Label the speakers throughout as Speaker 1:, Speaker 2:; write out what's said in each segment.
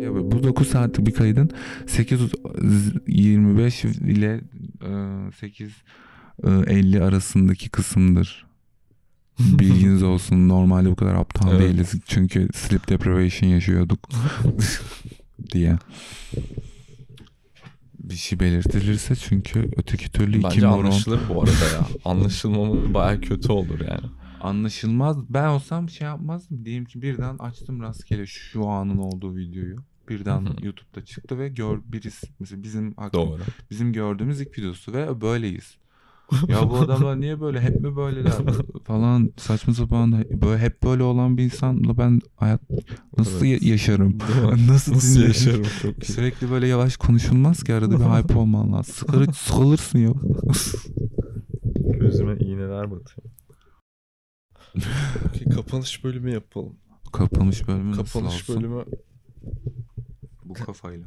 Speaker 1: 9 saatlik bir kaydın 8.25 ile e, 8 e, 50 arasındaki kısımdır. Bilginiz olsun. Normalde bu kadar aptal
Speaker 2: Evet.
Speaker 1: değiliz. Çünkü sleep deprivation yaşıyorduk diye. Bir şey belirtilirse çünkü öteki türlü iki
Speaker 2: Bence
Speaker 1: moron
Speaker 2: anlaşılır bu arada ya. Anlaşılmamı baya kötü olur yani.
Speaker 1: anlaşılmaz. Ben olsam şey yapmazdım. Diyelim ki birden açtım rastgele şu anın olduğu videoyu. Birden
Speaker 2: Hı hı.
Speaker 1: YouTube'da çıktı ve gör birisi mesela bizim hakkı-
Speaker 2: Doğru.
Speaker 1: bizim gördüğümüz ilk videosu ve böyleyiz. Ya bu adamlar niye böyle hep mi böyleler falan saçma sapan da- böyle hep böyle olan bir insanla ben hayat nasıl
Speaker 2: Evet.
Speaker 1: ya- yaşarım?
Speaker 2: Değil mi?
Speaker 1: Nasıl,
Speaker 2: Nasıl
Speaker 1: dinlerim?
Speaker 2: yaşarım çok iyi.
Speaker 1: Sürekli böyle yavaş konuşulmaz ki arada bir hype olman lazım. Sıkılır, sıkılırsın ya.
Speaker 2: Gözüme iğneler batıyor. Peki, kapanış bölümü yapalım.
Speaker 1: Kapanış bölümü nasıl
Speaker 2: Kapanış
Speaker 1: olsun?
Speaker 2: bölümü
Speaker 1: Bu kafayla.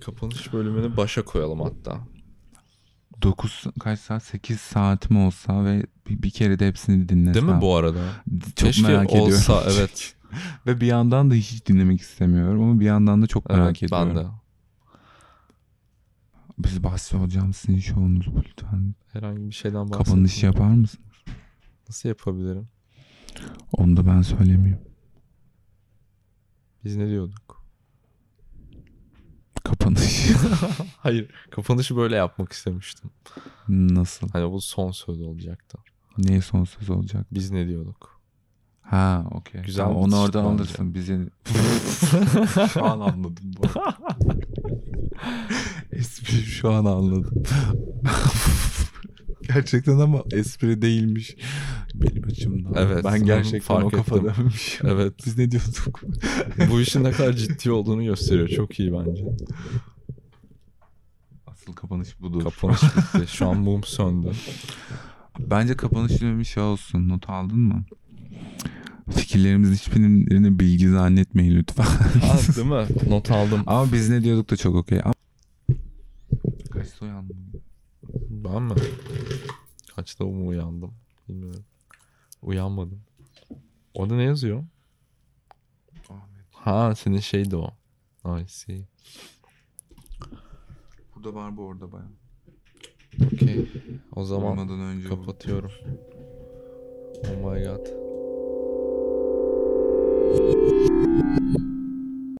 Speaker 2: kapanış bölümünü başa koyalım hatta.
Speaker 1: 9 kaç saat? 8 saatim olsa ve bir, bir kere de hepsini dinlesem.
Speaker 2: Değil mi bu arada?
Speaker 1: Çok merak ediyorum.
Speaker 2: olsa evet.
Speaker 1: Ve bir yandan da hiç dinlemek istemiyorum ama bir yandan da çok merak
Speaker 2: evet
Speaker 1: ediyorum.
Speaker 2: ben de.
Speaker 1: Biz Basri hocam sizin şovunuz bu lütfen.
Speaker 2: Herhangi bir şeyden bahsettim.
Speaker 1: Kapanış yapar mısın?
Speaker 2: Nasıl yapabilirim?
Speaker 1: Onu da ben söylemiyorum.
Speaker 2: Biz ne diyorduk?
Speaker 1: Kapanış.
Speaker 2: Hayır. Kapanışı böyle yapmak istemiştim.
Speaker 1: Nasıl?
Speaker 2: Hani bu son söz olacaktı.
Speaker 1: Neye son söz olacak?
Speaker 2: Biz ne diyorduk?
Speaker 1: Ha okey.
Speaker 2: Güzel
Speaker 1: Tamam,
Speaker 2: bir
Speaker 1: onu
Speaker 2: bitiş
Speaker 1: oradan
Speaker 2: bence.
Speaker 1: alırsın. Bizi... şu an anladım bu. Espri şu an anladım. gerçekten ama espri değilmiş. Benim açımdan.
Speaker 2: Evet,
Speaker 1: Ben gerçekten
Speaker 2: fark
Speaker 1: o
Speaker 2: ettim.
Speaker 1: kafadaymışım.
Speaker 2: Evet.
Speaker 1: Biz ne diyorduk?
Speaker 2: bu işin ne kadar ciddi olduğunu gösteriyor. Çok iyi bence.
Speaker 1: Asıl kapanış budur.
Speaker 2: Kapanış bitti. Şu an mum söndü.
Speaker 1: Bence kapanış bir şey olsun. Not aldın mı? Fikirlerimizin hiçbirini bilgi zannetmeyin lütfen.
Speaker 2: Ha, Ah, değil mi? Not aldım.
Speaker 1: Ama biz ne diyorduk da çok okey. Ama... Kaçta uyandın?
Speaker 2: Ben mi? Kaçta mu uyandım? Bilmiyorum. Uyanmadım. Orada ne yazıyor?
Speaker 1: Ahmet.
Speaker 2: Ha senin şeydi o. I see.
Speaker 1: Burada var bu orada bayağı.
Speaker 2: Okey. O zaman
Speaker 1: Uyumadan önce. bu.
Speaker 2: kapatıyorum. Oh my god.